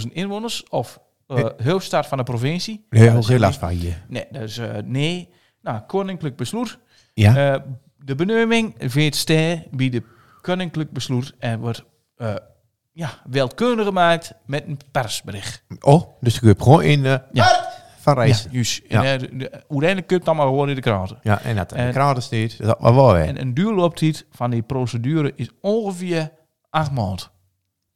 Speaker 4: 50.000 inwoners? Of eh
Speaker 3: Eh.
Speaker 4: hoofdstad van de provincie?
Speaker 3: Heel,
Speaker 4: Nou,
Speaker 3: heel
Speaker 4: dat is
Speaker 3: helaas van hier.
Speaker 4: Nee, dus eh, nee. Nou, koninklijk besloer.
Speaker 3: Ja.
Speaker 4: Eh, de benoeming veert stij bij de koninklijk besloer en wordt eh ja, welkeurig gemaakt met een persbericht.
Speaker 3: oh, dus ik heb gewoon in eh
Speaker 4: Ja.
Speaker 3: Van Rijs. Ja.
Speaker 4: juist.
Speaker 3: Ja.
Speaker 4: En, eh, de- de- uiteindelijk kun je het allemaal gewoon in de kranten.
Speaker 3: en dat en
Speaker 4: En-
Speaker 3: de kraden steeds. Dat maar wel, hè.
Speaker 4: En een duurlooptijd van die procedure is ongeveer acht maanden.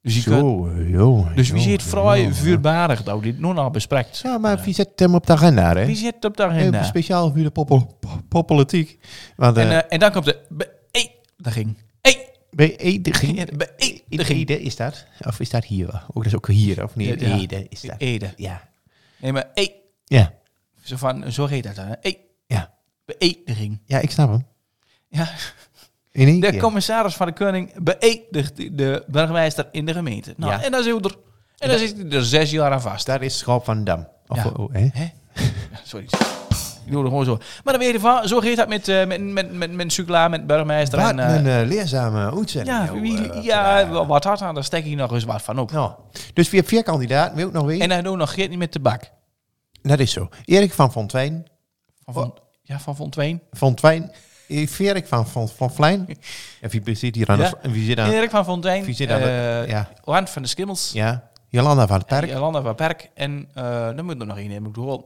Speaker 4: Dus, je kunt,
Speaker 3: Zo, joh.
Speaker 4: dus wie
Speaker 3: joh,
Speaker 4: zit vrij
Speaker 3: joh.
Speaker 4: vuurbarig dat we dit nu al bespreekt.
Speaker 3: Ja, maar wie zet hem op de agenda, hè?
Speaker 4: Wie zit op de
Speaker 3: Heel
Speaker 4: agenda?
Speaker 3: speciaal voor de popol- po- poppolitiek. Want
Speaker 4: En,
Speaker 3: eh
Speaker 4: eh, en dan komt de E, beëdiging. Hey,
Speaker 3: bij Ede ging...
Speaker 4: E,
Speaker 3: In
Speaker 4: beëdiging.
Speaker 3: Ede is dat? Of is dat hier? wel? Ook dat is ook hier, of niet?
Speaker 4: Ja, ja.
Speaker 3: Ede is dat.
Speaker 4: Ede.
Speaker 3: Ja.
Speaker 4: E, Nee, maar hey.
Speaker 3: Ja.
Speaker 4: Zo, van, zo heet dat dan. hè? E, Hey,
Speaker 3: Ja.
Speaker 4: beëdiging.
Speaker 3: Ja, ik snap hem.
Speaker 4: Ja. (laughs)
Speaker 3: In één
Speaker 4: De
Speaker 3: keer.
Speaker 4: commissaris van de koning beëdigt de burgemeester in de gemeente. Nou,
Speaker 3: Ja.
Speaker 4: en dan zit er. En dan zit hij er zes jaar aan vast.
Speaker 3: Daar is Schap van Dam. Of,
Speaker 4: Ja.
Speaker 3: oh, hè?
Speaker 4: Hè? Ja, sorry. Ik doe er gewoon zo. Maar dan weet je van, zo gaat dat met, eh, met, met, met, met Sucla, met burgemeester.
Speaker 3: Wat
Speaker 4: en, eh,
Speaker 3: een eh, leerzame uitzending.
Speaker 4: ja,
Speaker 3: joh,
Speaker 4: wie,
Speaker 3: eh,
Speaker 4: ja,
Speaker 3: vandaag.
Speaker 4: wat had aan, daar stek ik nog eens wat van op.
Speaker 3: Nou, dus we hebben vier kandidaten, wil ik nog weer.
Speaker 4: En eh, hij doet nog geen niet met de bak.
Speaker 3: dat is zo. Erik van Fontijn.
Speaker 4: Van, van, ja, van Fontwijn.
Speaker 3: Fontijn. Erik Eh, van Van, van Vlijn. En wie zit hier aan
Speaker 4: Ja.
Speaker 3: de... en Wie zit aan...
Speaker 4: Erik van Fontwijn.
Speaker 3: Wie zit aan de-
Speaker 4: eh,
Speaker 3: ja.
Speaker 4: Juan van de Skimmels.
Speaker 3: Ja. Jolanda van het Park.
Speaker 4: Jolanda van Perk. En eh dan moet er nog één in, moet ik horen.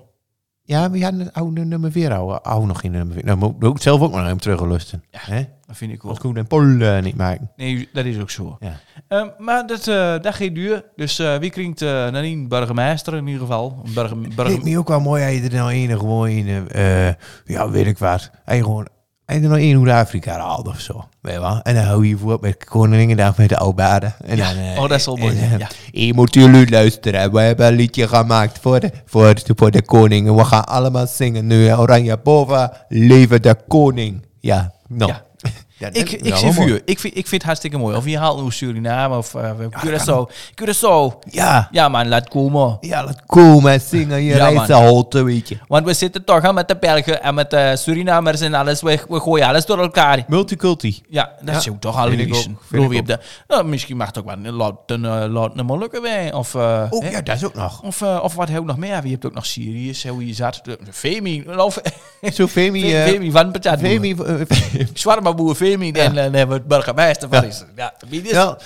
Speaker 3: Ja, we hadden het oude nummer weer houden. Oude nog geen nummer weer. Nou, moet moet ik zelf ook maar naar hem teruglusten. hè
Speaker 4: Dat vind ik wel.
Speaker 3: Als Koen en Paul eh, niet maken.
Speaker 4: Nee, dat is ook zo.
Speaker 3: Ja.
Speaker 4: Ehm, maar dat, eh dat gaat duur. Dus eh, wie kringt eh Nanine burgemeester in ieder geval? Een Burge,
Speaker 3: Lijkt
Speaker 4: burge-
Speaker 3: me ook wel mooi als je er nou één gewoon in... eh, eh, ja, weet ik wat. Hij gewoon... Hij er nou één uit Afrika haalt of zo. Weet je wel? En dan hou je voor met Koningendag met de Albaden. En dan, eh,
Speaker 4: oh, dat is wel mooi,
Speaker 3: en, eh,
Speaker 4: ja.
Speaker 3: Je moet jullie luisteren. We hebben een liedje gemaakt voor de, voor de, voor de koning. We gaan allemaal zingen nu. Oranje boven. Leven de koning. Ja, nou.
Speaker 4: Ja.
Speaker 3: (laughs) Ja, dat
Speaker 4: ik,
Speaker 3: is
Speaker 4: ik
Speaker 3: wel
Speaker 4: zie
Speaker 3: mooi.
Speaker 4: vuur. Ik vind, ik vind het hartstikke mooi. Of je haalt nu Suriname of eh, Curaçao. Curaçao.
Speaker 3: Ja.
Speaker 4: Ja man, laat komen.
Speaker 3: Ja, laat komen zingen. Je
Speaker 4: Ja, man.
Speaker 3: reist holte, weet je.
Speaker 4: Want we zitten toch al met de Belgen en met de Surinamers en alles. We, we gooien alles door elkaar.
Speaker 3: Multiculti.
Speaker 4: Ja, dat
Speaker 3: Ja,
Speaker 4: is ook toch al
Speaker 3: vind ik ook,
Speaker 4: lezen.
Speaker 3: vind
Speaker 4: Ik bedoel,
Speaker 3: ik
Speaker 4: wie hebt dat- Nou, misschien mag het ook wel een laat een, eh, laat een Molukken bij. Of, eh,
Speaker 3: Oh,
Speaker 4: hè?
Speaker 3: ja, dat is ook nog.
Speaker 4: Of, eh, of wat heb je nog meer? Je hebt ook nog Syriërs, hè, hoe je zat. De- de Femi. Of,
Speaker 3: (laughs) Zo, Femi... eh,
Speaker 4: Femi van Patat.
Speaker 3: Femi...
Speaker 4: (laughs)
Speaker 3: eh,
Speaker 4: Zwarmaboer Femi. En dan hebben we het burgemeester van is. Ja, wie is
Speaker 3: Ja.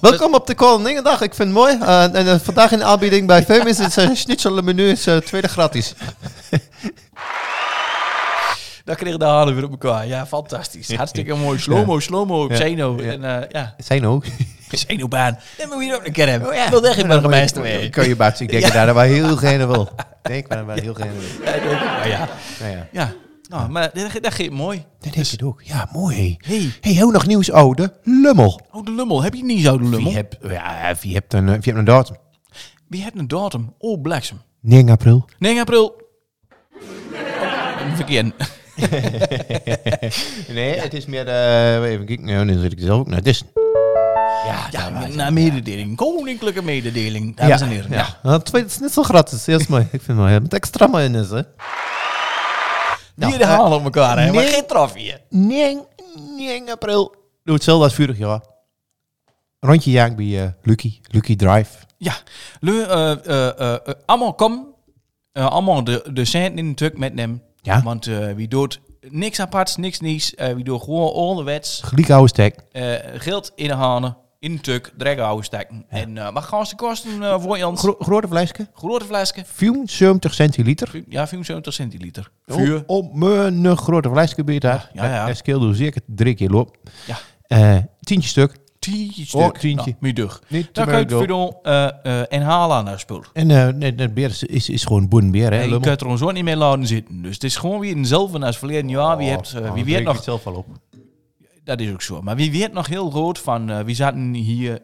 Speaker 3: Welkom op de Koningendag. Ik vind het mooi. Eh, en eh, vandaag in de aanbieding bij Femis is (laughs) een schnitzelmenu is eh, tweede gratis.
Speaker 4: Dat kreeg de halen weer op elkaar. Ja, fantastisch. Hartstikke mooi. Slomo, slomo,
Speaker 3: Ja.
Speaker 4: Zeno.
Speaker 3: Ja.
Speaker 4: En eh ja,
Speaker 3: (laughs) Zijn ook.
Speaker 4: Zenobaan. Dat moet je hier ook een keer hebben.
Speaker 3: Oh
Speaker 4: Ik wil echt geen burgemeester mee.
Speaker 3: Kan je baas, ik denk dat daar wel heel geen (laughs) wil. Ik denk dat daar wel heel geen wil.
Speaker 4: Ja, denk ik. Maar ja.
Speaker 3: Nou ja.
Speaker 4: Ja. Nou, maar dat, dat geeft mooi.
Speaker 3: Dat denk ik ook. Ja, mooi.
Speaker 4: Hey.
Speaker 3: hey, heel nog nieuws, oude. Lummel.
Speaker 4: Oh, de lummel. Heb je niet zo de lummel?
Speaker 3: Wie hebt, ja, wie hebt een, eh, wie hebt een datum?
Speaker 4: Wie heeft een datum? Oh, bliksem.
Speaker 3: 9 april.
Speaker 4: 9 april. Oh, Verkeerd.
Speaker 3: Nee, het is meer... eh, even kijken. Nou, nu zit ik zelf ook naar Disney.
Speaker 4: Ja, ja na mededeling. Koninklijke mededeling, dames en heren. Ja.
Speaker 3: Ja, Nou, tweede schnitzel gratis. Eerst mooi. Ik vind het mooi. Met extra mayonaise, hè. Nou,
Speaker 4: Hier de
Speaker 3: eh,
Speaker 4: halen op elkaar, hè. Maar
Speaker 3: nee.
Speaker 4: geen trofee.
Speaker 3: 9, 9 april. Doe hetzelfde als vorig jaar. Rondje jaag bij eh, Lucky, Lucky Drive.
Speaker 4: Ja. Le, eh, eh, eh, eh, allemaal kom. Eh, allemaal de, de centen in de truck met hem.
Speaker 3: Ja.
Speaker 4: Want eh, wie doet niks aparts, niks niets. eh wie doet gewoon onderwets
Speaker 3: Gelijk oude stek.
Speaker 4: eh geld in de hanen, in de tuk, dreggen houden steken. En eh maar gaan ze kosten eh voor ons?
Speaker 3: Gro grote flesje.
Speaker 4: grote flesje,
Speaker 3: 74 centiliter.
Speaker 4: ja, 75 centiliter.
Speaker 3: Vuur. Op mijn grote flesje ben je daar.
Speaker 4: Ja, ja.
Speaker 3: Dat scheelt dus zeker drie keer op.
Speaker 4: Ja.
Speaker 3: Eh, tientje stuk.
Speaker 4: Tientje
Speaker 3: Oh,
Speaker 4: stuk.
Speaker 3: tientje.
Speaker 4: Nou, meer dug.
Speaker 3: Niet te
Speaker 4: Dan kun je het
Speaker 3: veel.
Speaker 4: verdon eh, eh, en halen aan dat spul.
Speaker 3: En eh nee, dat beer is, is, is gewoon boen beer, hè?
Speaker 4: En je
Speaker 3: Lummel?
Speaker 4: kunt er ons ook niet meer laten zitten. Dus het is gewoon weer eenzelfde als verleden jaar. Wie,
Speaker 3: Oh,
Speaker 4: hebt,
Speaker 3: dan
Speaker 4: eh, wie
Speaker 3: drink
Speaker 4: weet
Speaker 3: ik
Speaker 4: nog
Speaker 3: het zelf wel op.
Speaker 4: Dat is ook zo. Maar wie weet nog heel goed van, eh we zaten hier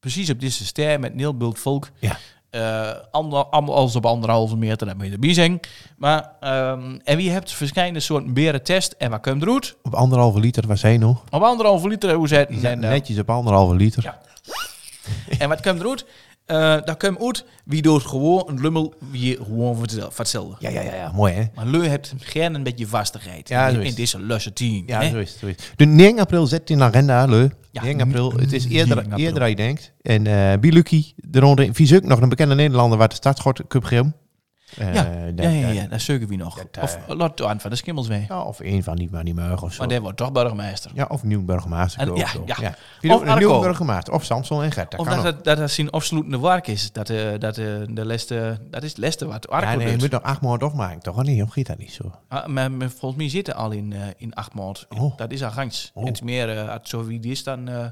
Speaker 4: precies op deze ster met een heel bult volk.
Speaker 3: Ja.
Speaker 4: Eh, ander, ander- alles op anderhalve meter, dat moet je erbij zijn. Maar, ehm, en wie hebt verschillende soorten beren test en wat komt eruit?
Speaker 3: Op anderhalve liter was hij nog.
Speaker 4: Op anderhalve liter, hoe zei het?
Speaker 3: Die zijn
Speaker 4: Nou,
Speaker 3: netjes op anderhalve liter.
Speaker 4: Ja. En wat komt eruit? Eh dat komt uit, wie doet gewoon een lummel, wie gewoon voor hetzelfde- voor hetzelfde.
Speaker 3: ja, ja, ja, ja, mooi hè?
Speaker 4: Maar leu hebt geen een beetje vastigheid
Speaker 3: Ja, zo
Speaker 4: in,
Speaker 3: is
Speaker 4: in
Speaker 3: het.
Speaker 4: deze lusse team.
Speaker 3: Ja,
Speaker 4: hè?
Speaker 3: zo is het. zo is het. De 9 april zet in de agenda, leuk.
Speaker 4: Ja,
Speaker 3: 9 april, het is
Speaker 4: 9
Speaker 3: eerder,
Speaker 4: april.
Speaker 3: eerder dan je denkt. En eh Biluki, de ronde, vies ook nog een bekende Nederlander waar de startschot Cup Geel. Eh,
Speaker 4: ja,
Speaker 3: dat-
Speaker 4: ja, ja,
Speaker 3: dat-
Speaker 4: ja, dat zeuken we nog.
Speaker 3: dat, eh,
Speaker 4: of laat aan van de skimmels mee.
Speaker 3: ja, Of een van die, maar niet meer of zo.
Speaker 4: Maar die wordt toch burgemeester.
Speaker 3: Ja, of nieuw burgemeester.
Speaker 4: En-
Speaker 3: ook
Speaker 4: ja,
Speaker 3: zo.
Speaker 4: ja.
Speaker 3: Vind
Speaker 4: Of
Speaker 3: ook een
Speaker 4: Arco.
Speaker 3: nieuw burgemeester. Of Samson en Gert. Dat
Speaker 4: Of
Speaker 3: kan
Speaker 4: dat
Speaker 3: ook.
Speaker 4: het, dat het zijn afsluitende werk is. Dat, eh dat eh, de leste, dat is het leste wat Arco
Speaker 3: ja, nee, je
Speaker 4: doet.
Speaker 3: moet nog acht maanden afmaken, toch? Oh, Nee, of gaat dat niet zo?
Speaker 4: Ah, maar, maar volgens mij zitten al in, eh, in acht maand.
Speaker 3: Oh. Hmm.
Speaker 4: Dat is al gangs. Het is meer, eh, als het zo wie het is, dan eh dan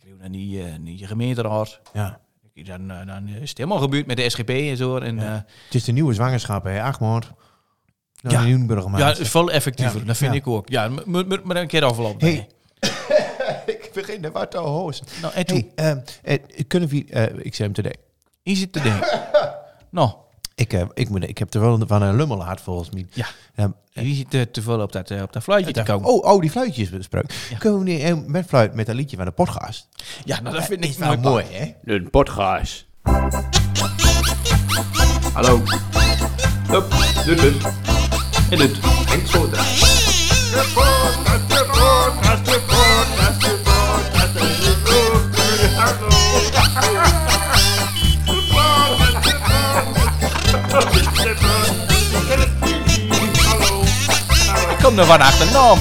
Speaker 4: krijg je dan die, eh, die gemeenteraad.
Speaker 3: Ja.
Speaker 4: Dan, eh, dan is het helemaal gebeurd met de SGP en zo. En, eh,
Speaker 3: Het is de nieuwe zwangerschap, hè? Acht maanden. Nou,
Speaker 4: Ja.
Speaker 3: een nieuwe
Speaker 4: ja,
Speaker 3: burgemeester.
Speaker 4: het is veel effectiever.
Speaker 3: Ja.
Speaker 4: Dat vind
Speaker 3: Ja.
Speaker 4: ik ook. Ja, moet- moet moet maar een keer aflopen.
Speaker 3: Hey. ik begin er wat te hozen.
Speaker 4: Nou, en toen,
Speaker 3: Hey, ehm, eh, kunnen we... eh, ik zei hem te denken.
Speaker 4: is het te
Speaker 3: (laughs)
Speaker 4: denken. nou,
Speaker 3: Ik, eh, ik, moet, ik heb er wel een- van een lummelaard volgens mij.
Speaker 4: Ja.
Speaker 3: Ehm,
Speaker 4: wie zit er te veel op dat, eh, op dat fluitje te komen?
Speaker 3: oh, oh, die fluitjes besproken. Kunnen we niet een- met fluit met een liedje van de podcast?
Speaker 4: ja, nou, dat vind ik
Speaker 3: Nou,
Speaker 4: mooi.
Speaker 3: mooi,
Speaker 4: (laughs)
Speaker 3: hè?
Speaker 10: Een podcast. Hallo. Hup, dut, dut. En dut. En zo draai.
Speaker 4: Ik kom er Nou, van achternaam.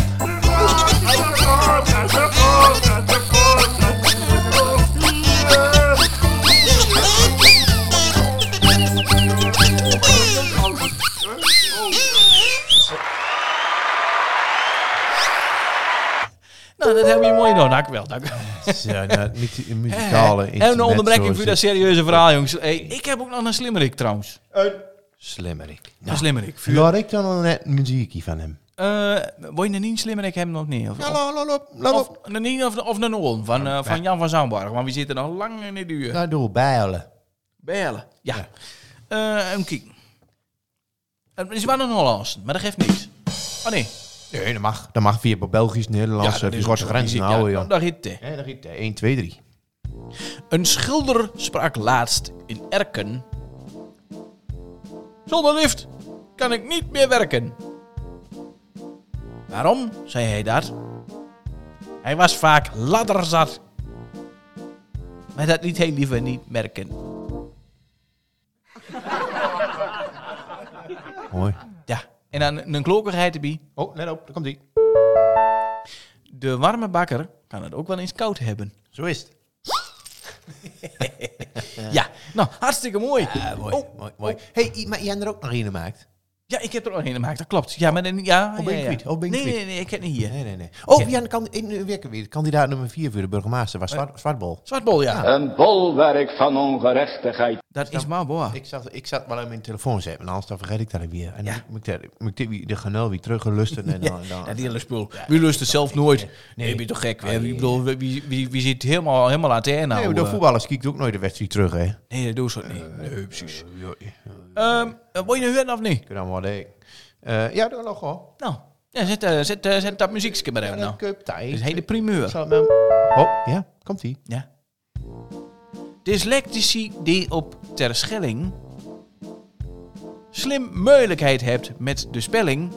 Speaker 4: Nou, dat hebben we mooi gedaan. Dank u wel. Dank u.
Speaker 3: Ja, nou, niet een muzikale
Speaker 4: Eh, En een onderbreking voor dat
Speaker 3: dat
Speaker 4: serieuze verhaal, jongens. Hey, ik heb ook nog een slimmerik trouwens.
Speaker 3: Slimmerik.
Speaker 4: Een slimmerik. Vuur.
Speaker 3: Laat ik dan al net een muziekje van hem.
Speaker 4: Eh, wil je een niet slimmerik hebben of niet? Of, of,
Speaker 3: Hallo, hallo,
Speaker 4: of, een niet of, of een oon van, eh, van Jan van Zandberg. Want we zitten nog lang in de duur.
Speaker 3: Nou, doe bijlen.
Speaker 4: Bellen. Ja. Eh en kijk. Het is wel een Hollandse, maar dat geeft niks. Oh nee.
Speaker 3: Nee, dat mag. Dat mag via Belgisch, Nederlands, ja, die zwarte grenzen
Speaker 4: Ja,
Speaker 3: houden,
Speaker 4: dat-
Speaker 3: joh.
Speaker 4: dat heet het.
Speaker 3: Nee, dat giet 1, 2, 3.
Speaker 4: Een schilder sprak laatst in Erken. Zonder lift kan ik niet meer werken. Waarom zei hij dat? Hij was vaak ladderzat. Maar dat liet hij liever niet merken.
Speaker 3: Mooi.
Speaker 4: Ja, en dan een klokkerheid erbij.
Speaker 3: Oh, let op, daar komt ie.
Speaker 4: De warme bakker kan het ook wel eens koud hebben.
Speaker 3: Zo is het.
Speaker 4: Ja, nou, hartstikke mooi.
Speaker 3: mooi,
Speaker 4: Oh,
Speaker 3: mooi, mooi. Eh, hey, I- maar jij hebt er ook nog een gemaakt?
Speaker 4: Ja, ik heb er al een gemaakt, dat klopt. Ja, maar dan, ja,
Speaker 3: Oh, ben je
Speaker 4: ja, ja.
Speaker 3: kwijt? Oh, ben je
Speaker 4: nee,
Speaker 3: kwijt?
Speaker 4: nee, nee, ik heb niet hier.
Speaker 3: Nee, nee, nee. Oh,
Speaker 4: Ja. Oh.
Speaker 3: ja, dan kan, in, eh, weer- weer- kandidaat nummer 4 voor de burgemeester was Zwart, Zwartbol.
Speaker 4: Zwartbol, ja.
Speaker 9: Een bolwerk van ongerechtigheid.
Speaker 4: Dat is maar boa.
Speaker 3: Ik zat, ik zat maar aan mijn telefoon zetten, want anders dan vergeet ik dat weer. En dan moet ik, dat- moet ik dit weer- de genel weer teruggelusten. En dan, dan,
Speaker 4: Dat hele spul. Wie lust het zelf nooit? Nee, ben je toch gek? hè? Ik bedoel, wie, wie, wie zit helemaal, helemaal aan het einde?
Speaker 3: nee, maar de voetballers kijkt ook nooit de wedstrijd terug, hè.
Speaker 4: eh, nee, dat doe ze niet. Nee, precies. Ehm, eh, Wil je nu hebben of niet?
Speaker 3: Kunnen allemaal denken. Eh, ja, doe nog wel.
Speaker 4: Nou, ja, zet, eh, zet, eh, zet dat muziekje maar even nou. Dat
Speaker 3: Cup tijd.
Speaker 4: is een hele primeur.
Speaker 3: Zal het maar- Oh, ja, komt ie.
Speaker 4: Ja. Dyslectici die op Terschelling slim moeilijkheid hebt met de spelling.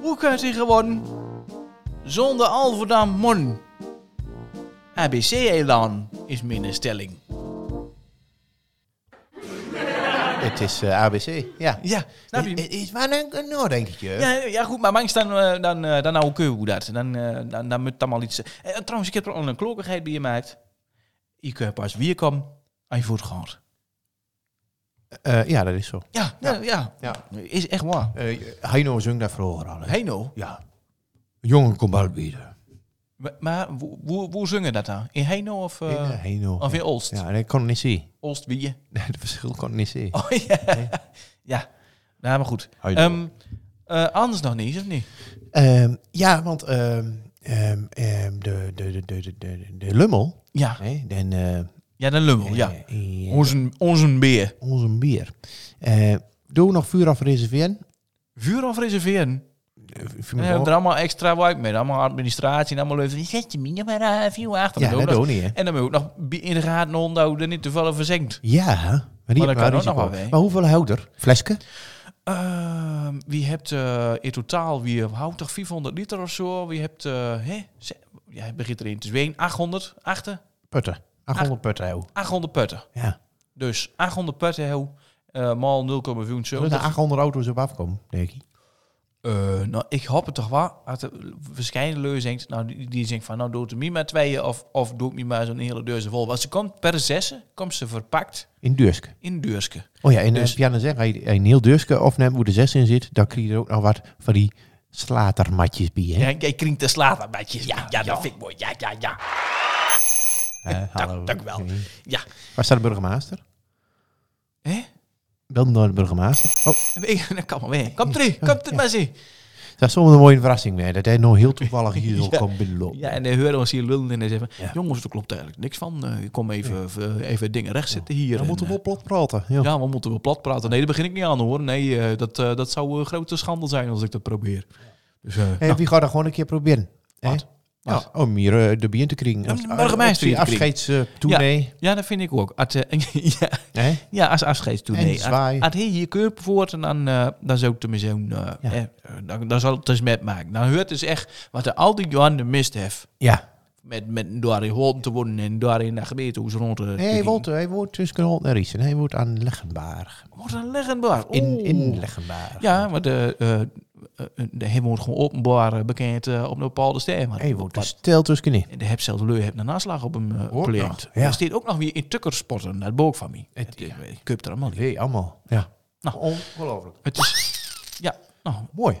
Speaker 4: Hoe kunt u gewoon zonder Alverdam mon? ABC-elan is mijn stelling.
Speaker 3: Ik het is eh, ABC. Ja. Eh,
Speaker 4: Ja,
Speaker 3: Het
Speaker 4: snap je?
Speaker 3: het is nou, maar een, een nadenkertje.
Speaker 4: Ja, ja, goed, maar mangs dan, eh, dan, eh, dan nou hoe dat. Dan, eh, dan, dan moet dan maar iets... Eh, trouwens, ik heb er al een klokigheid bij je maakt. Je kunt pas weer komen als je voort gaat.
Speaker 3: Eh, ja, dat is zo.
Speaker 4: Ja, ja, ja.
Speaker 3: Ja.
Speaker 4: Is echt waar.
Speaker 3: Eh Heino zong daar vroeger al. hè?
Speaker 4: Hey nou.
Speaker 3: Ja. Jongen, kom bal bieden.
Speaker 4: Maar- Maar wo- wo- hoe zingen dat dan? In Heino of, eh,
Speaker 3: In, eh, Heino.
Speaker 4: of in Olst?
Speaker 3: Ja, en ik kon het niet zien. (laughs)
Speaker 4: Olst wie je?
Speaker 3: Het verschil kon ik niet zien.
Speaker 4: Oh ja. Ja, nou, maar goed.
Speaker 3: Heino.
Speaker 4: Ehm, eh, anders nog niet, of niet?
Speaker 3: Ehm, ja, want ehm, ehm, ehm, de, de, de, de, de, de, de lummel.
Speaker 4: Ja,
Speaker 3: Hè, den, eh,
Speaker 4: ja dan lummel, ja.
Speaker 3: eh, eh,
Speaker 4: Onze, onze beer.
Speaker 3: onze bier. Eh, doe nog vuur af reserveren.
Speaker 4: Vuur of reserveren?
Speaker 3: Eh, vuur me
Speaker 4: En we hebben
Speaker 3: op.
Speaker 4: er allemaal extra werk mee. Allemaal administratie en allemaal leuven. Zet je minder maar eh, even uw achter.
Speaker 3: Ja,
Speaker 4: Dan ook
Speaker 3: dat
Speaker 4: nog-
Speaker 3: doe niet, hè?
Speaker 4: En dan moet ook nog bi- in de gaten onderhouden niet te vallen verzinkt.
Speaker 3: Ja, maar die
Speaker 4: Maar dat
Speaker 3: hebben
Speaker 4: kan
Speaker 3: wel
Speaker 4: ook nog wel
Speaker 3: risico.
Speaker 4: weer.
Speaker 3: Maar hoeveel houder? Flesken?
Speaker 4: Ehm, wie hebt eh, in totaal, wie houdt toch 500 liter of zo? Wie hebt, eh hè? Ze- Ja, het begint erin te zween. 800, achter,
Speaker 3: Putten. 800 putten hou.
Speaker 4: 800 putten.
Speaker 3: Ah. Ja.
Speaker 4: Dus 800 putten, heel, eh mal 0,4 zo.
Speaker 3: Zullen er
Speaker 4: Dat-
Speaker 3: 800 auto's op afkomen, denk ik?
Speaker 4: Eh, nou, ik hoop het toch wel. Als de verschijnen leu zingt, nou, die, die zingt van, nou, doe het me maar tweeën of, of doe het me maar zo'n hele deuze vol. Want ze komt per zessen, komt ze verpakt
Speaker 3: In Durske.
Speaker 4: in deurske.
Speaker 3: Oh ja, en
Speaker 4: Dus-
Speaker 3: dus, Pianne zegt, hij een heel Durske opneemt hoe de 6 in zit, dan krijg je er ook nog wat van die slatermatjes bij. Hè?
Speaker 4: Ja, jij kringt de slatermatjes. Ja, ja, dat vind ik mooi. Ja, ja, ja.
Speaker 3: Eh, hallo.
Speaker 4: dank wel.
Speaker 3: Eh,
Speaker 4: ja.
Speaker 3: Waar staat de burgemeester?
Speaker 4: Hè?
Speaker 3: Wel door de burgemeester. Oh,
Speaker 4: Ik- (laughs) Dat kan wel weer. Kom (laughs) terug, kom terug, maar zie.
Speaker 3: dat is soms een mooie verrassing mee, dat hij nog heel toevallig
Speaker 4: (laughs)
Speaker 3: hier zo komt binnenlopen.
Speaker 4: Ja, en dan horen ons hier lullen en dan zeggen we, jongens, er klopt eigenlijk niks van. Eh, kom even, even, even dingen recht zitten hier.
Speaker 3: dan
Speaker 4: En,
Speaker 3: moeten we
Speaker 4: eh,
Speaker 3: wel plat praten. Ja.
Speaker 4: Ja, we moeten wel plat praten. Nee, daar begin ik niet aan hoor. Nee, eh, dat, eh, dat zou een grote schandel zijn als ik dat probeer. Dus, eh
Speaker 3: Hey,
Speaker 4: nou,
Speaker 3: wie gaat dat gewoon een keer proberen? hè?
Speaker 4: Wat?
Speaker 3: Ja,
Speaker 4: Wat?
Speaker 3: om hier eh, de bier te krijgen.
Speaker 4: Om de burgemeester hier te krijgen.
Speaker 3: Afscheidstoernee.
Speaker 4: ja, dat vind ik ook. At, eh, (laughs) ja,
Speaker 3: hè?
Speaker 4: ja, als afscheidstoernee.
Speaker 3: En zwaai.
Speaker 4: Als hij hier keur voort en dan, eh, dan zou ik hem zo'n... eh,
Speaker 3: Ja.
Speaker 4: eh, dan, dan zal het eens met maken. Dan hoort dus echt wat de al die Johan de mist heeft.
Speaker 3: Ja.
Speaker 4: Met, met door in Holten te worden en door in de gemeentehuis rond eh, te...
Speaker 3: Nee, hij woont, hij woont dus in Holt naar Riesen. Hij woont aan Leggenbaar.
Speaker 4: Wat een leggenbaar.
Speaker 3: In, in
Speaker 4: Oeh.
Speaker 3: Leggenbaar.
Speaker 4: Ja, want de, eh eh, de, hij wordt gewoon openbaar eh, bekend eh, op een bepaalde stem.
Speaker 3: Hij woont dus stil tussenin.
Speaker 4: En de heb zelfs Leu heeft een naslag op hem eh
Speaker 3: Hoort
Speaker 4: opgelegd.
Speaker 3: nog, ja.
Speaker 4: Er staat ook nog weer in tukkersporten, dat boek van mij. Het,
Speaker 3: ja.
Speaker 4: eh, Ik heb er allemaal niet.
Speaker 3: Nee, allemaal. Ja.
Speaker 4: Nou.
Speaker 3: Ongelooflijk.
Speaker 4: Het is... Ja, nou.
Speaker 3: Mooi.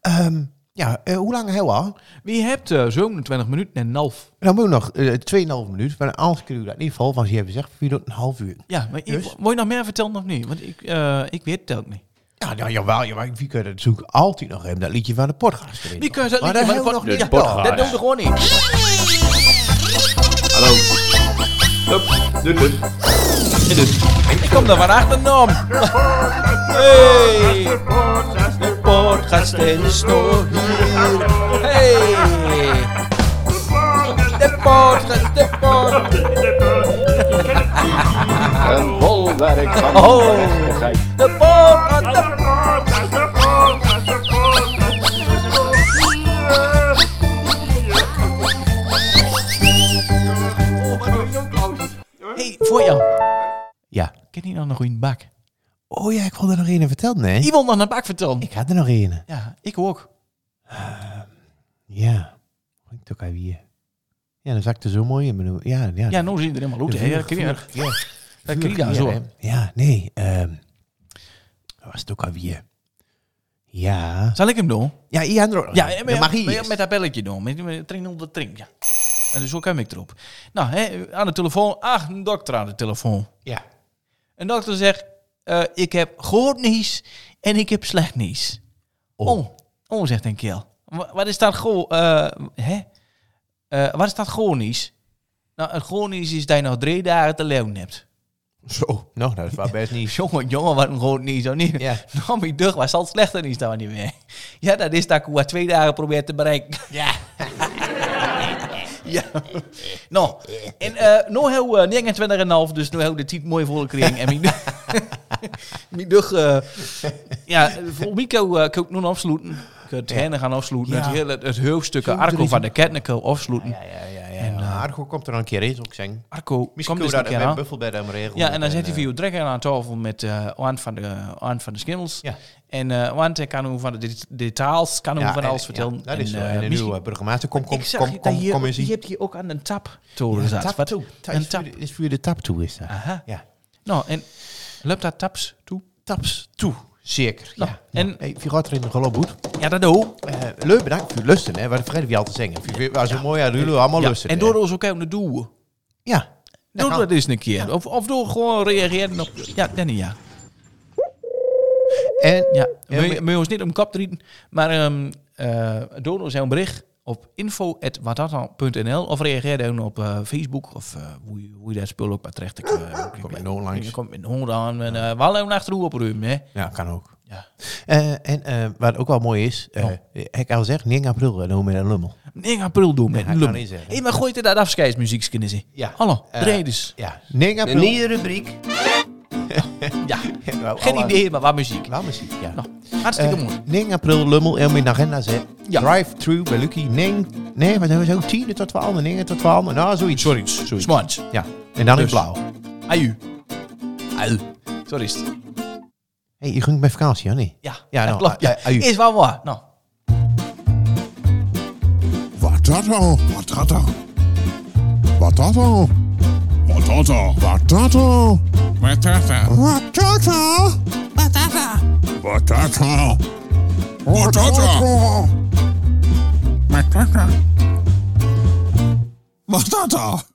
Speaker 3: Ehm, ja, eh, hoe lang heel al?
Speaker 4: Wie hebt eh 27 minuten en een half?
Speaker 3: Dan moet nog eh 2,5 minuut. Maar anders kunnen we dat in ieder geval, want je hebt gezegd, vier tot een half uur.
Speaker 4: Ja, maar
Speaker 3: Dus?
Speaker 4: ik, moet je nog meer vertellen of niet? Want ik, eh, ik weet het ook niet.
Speaker 3: Ja, nou, jawel, jawel. Wie kunnen natuurlijk altijd nog hebben dat liedje van de podcast. erin.
Speaker 4: Wie kan dat
Speaker 3: Maar
Speaker 4: liedje van de
Speaker 3: hebben we nog
Speaker 4: podcast-
Speaker 3: niet
Speaker 4: Ja,
Speaker 3: gedaan.
Speaker 4: Dat doen we gewoon niet.
Speaker 10: Hallo. Hup, dut, dut. En dut.
Speaker 4: Ik kom daar maar achternaam. Hey! De podcast is nog hier. Hey! De podcast, de podcast.
Speaker 9: Een bolwerk van ongerechtigheid.
Speaker 4: De podcast, de Hey, voor jou.
Speaker 3: Ja.
Speaker 4: Ken je nou nog een bak?
Speaker 3: Oh ja, ik wilde er nog een vertellen, hè?
Speaker 4: Iemand nog een bak vertellen.
Speaker 3: Ik had er nog een.
Speaker 4: Ja, ik ook.
Speaker 3: Ja. Ik ook even hier. Ja, dan zakte zo mooi in mijn hoofd. Ja, ja.
Speaker 4: Ja, nou zie je er helemaal uit. hè. Ja,
Speaker 3: Vuur,
Speaker 4: ken je nog?
Speaker 3: vuur, ja.
Speaker 4: Dat
Speaker 3: Vuur,
Speaker 4: klinkt daar
Speaker 3: ja,
Speaker 4: zo.
Speaker 3: hè. Ja, nee. ehm dat was het ook alweer. Ja.
Speaker 4: Zal ik hem doen?
Speaker 3: Ja, Ian Ro-
Speaker 4: Ja, en
Speaker 3: de
Speaker 4: met,
Speaker 3: magie.
Speaker 4: met,
Speaker 3: is.
Speaker 4: met dat belletje doen. Met, met drink onder de drink, ja. En dus zo kwam ik erop. Nou, hè, aan de telefoon. Ach, een dokter aan de telefoon.
Speaker 3: Ja.
Speaker 4: Een dokter zegt, eh, ik heb goed nieuws en ik heb slecht nieuws.
Speaker 3: Oh.
Speaker 4: Oh, oh, zegt een keel. Wa- Wat is dat goed? eh hè? Eh, wat is dat goed nieuws? Nou, het goed nieuws is dat je nog drie dagen te leven hebt.
Speaker 3: Zo. Nou, dat was best niet.
Speaker 4: Jongen, jongen, wat een goed nieuws. Of niet?
Speaker 3: Ja.
Speaker 4: Nou, mijn dag was al slechter nieuws dan niet meer. Ja, dat is dat ik wat twee dagen probeer te bereiken. Ja. (laughs) ja. Nou, en eh nou heel eh, 29,5, dus nou heel de tijd mooi volle kring. En mijn dag... (laughs) mijn dag eh, ja, voor mij kan, eh, kan ik nu afsluiten. Ik kan het henne gaan afsluiten.
Speaker 3: Ja.
Speaker 4: Het, hele, het hoofdstuk
Speaker 3: Zo, er
Speaker 4: Arco
Speaker 3: is
Speaker 4: van
Speaker 3: een-
Speaker 4: de Ketneco afsluiten.
Speaker 3: (laughs) Ja, ja, ja.
Speaker 4: En eh,
Speaker 3: Argo komt er een keer eens ook zingen.
Speaker 4: Arco
Speaker 3: Misschien
Speaker 4: komt
Speaker 3: kunnen
Speaker 4: dus
Speaker 3: we
Speaker 4: een
Speaker 3: dat
Speaker 4: keer
Speaker 3: met
Speaker 4: aan.
Speaker 3: buffel bij hem regelen.
Speaker 4: Ja, en dan zit hij
Speaker 3: eh,
Speaker 4: via Drekker aan tafel met eh Oan van de, Oan van de Schimmels.
Speaker 3: Ja.
Speaker 4: En eh want hij kan hoe van de det- details, kan hoe
Speaker 3: ja,
Speaker 4: van
Speaker 3: en-
Speaker 4: alles
Speaker 3: ja,
Speaker 4: vertellen.
Speaker 3: dat is zo.
Speaker 4: eh,
Speaker 3: En de
Speaker 4: misschien-
Speaker 3: nieuwe burgemeester, kom, kom,
Speaker 4: ik zag
Speaker 3: kom,
Speaker 4: dat
Speaker 3: kom,
Speaker 4: hier,
Speaker 3: kom eens
Speaker 4: Je
Speaker 3: hier.
Speaker 4: hebt hier ook aan een tap toren zat. Wat? Een tap.
Speaker 3: Is voor de tap toe, is dat?
Speaker 4: Aha.
Speaker 3: Ja.
Speaker 4: Nou, en loopt dat taps toe? Taps.
Speaker 3: Toe, zeker.
Speaker 4: Nou,
Speaker 3: Ja.
Speaker 4: en-
Speaker 3: Hey, wie gaat er in de geloof goed?
Speaker 4: Ja, dat doe.
Speaker 3: Eh, leuk, bedankt voor het lusten. Hè. Wat vergeten we al te zingen. Het was een mooi aan jullie allemaal
Speaker 4: Ja,
Speaker 3: lusten.
Speaker 4: en
Speaker 3: hè.
Speaker 4: door ons ook even te doen.
Speaker 3: Ja.
Speaker 4: Doe
Speaker 3: gaan
Speaker 4: dat eens een keer. Of, of door gewoon reageren op... Ja, Danny, ja.
Speaker 3: En,
Speaker 4: Ja,
Speaker 3: Ja,
Speaker 4: moet je-
Speaker 3: maar-
Speaker 4: moet je ons niet om kap drieten. Maar ehm eh doe ons een bericht op info.watatan.nl of reageer dan op eh, Facebook of eh, hoe, je- hoe je dat spul ook maar terecht. Ik, eh,
Speaker 3: Kom maar nou langs.
Speaker 4: Je komt met hond aan en eh we hadden een achterhoe op ruim, hè.
Speaker 3: ja, kan ook.
Speaker 4: Ja.
Speaker 3: Eh, en eh, wat ook wel mooi is, eh,
Speaker 4: Oh.
Speaker 3: ik al zeg, 9 april eh, dan doen we met een lummel.
Speaker 4: 9 april doen met
Speaker 3: Ja,
Speaker 4: een
Speaker 3: ik kan
Speaker 4: lum.
Speaker 3: niet zeggen.
Speaker 4: hey, maar gooi je dat afscheidsmuziekje eens in?
Speaker 3: Ja.
Speaker 4: Hallo,
Speaker 3: Eh,
Speaker 4: uh, dus.
Speaker 3: Ja, 9 april.
Speaker 8: rubriek.
Speaker 4: (laughs) Ja,
Speaker 3: Nou,
Speaker 4: eh, geen
Speaker 3: alle-
Speaker 4: idee, maar wat muziek.
Speaker 3: eh, Wel muziek, ja.
Speaker 4: Nou, hartstikke
Speaker 3: Eh,
Speaker 4: mooi.
Speaker 3: 9 april, Lummel, en mijn agenda zet.
Speaker 4: Ja.
Speaker 3: Drive-thru bij Lucky. Nee, nee, wat hebben we zo? 10 tot 12, 9 tot 12. Nou, zoiets. Zoiets. zoiets.
Speaker 4: Smarts.
Speaker 3: Ja, en dan in
Speaker 4: Dus.
Speaker 3: blauw.
Speaker 4: Aju. Aju. Zo is het.
Speaker 3: Hé, hey, je ging met vakantie, hè? Nee.
Speaker 4: Ja,
Speaker 3: Ja,
Speaker 4: dat
Speaker 3: nou,
Speaker 4: klopt. Ja.
Speaker 3: eh, aju.
Speaker 4: Is wel waar. Nou.
Speaker 1: Wat dat al? Wat dat al? Wat dat al?
Speaker 2: Patata.
Speaker 1: Wat dat al?
Speaker 2: Patata.
Speaker 1: Wat dat al?
Speaker 2: Patata.
Speaker 1: Wat dat al?
Speaker 2: Wat dat al? Patata. Patata.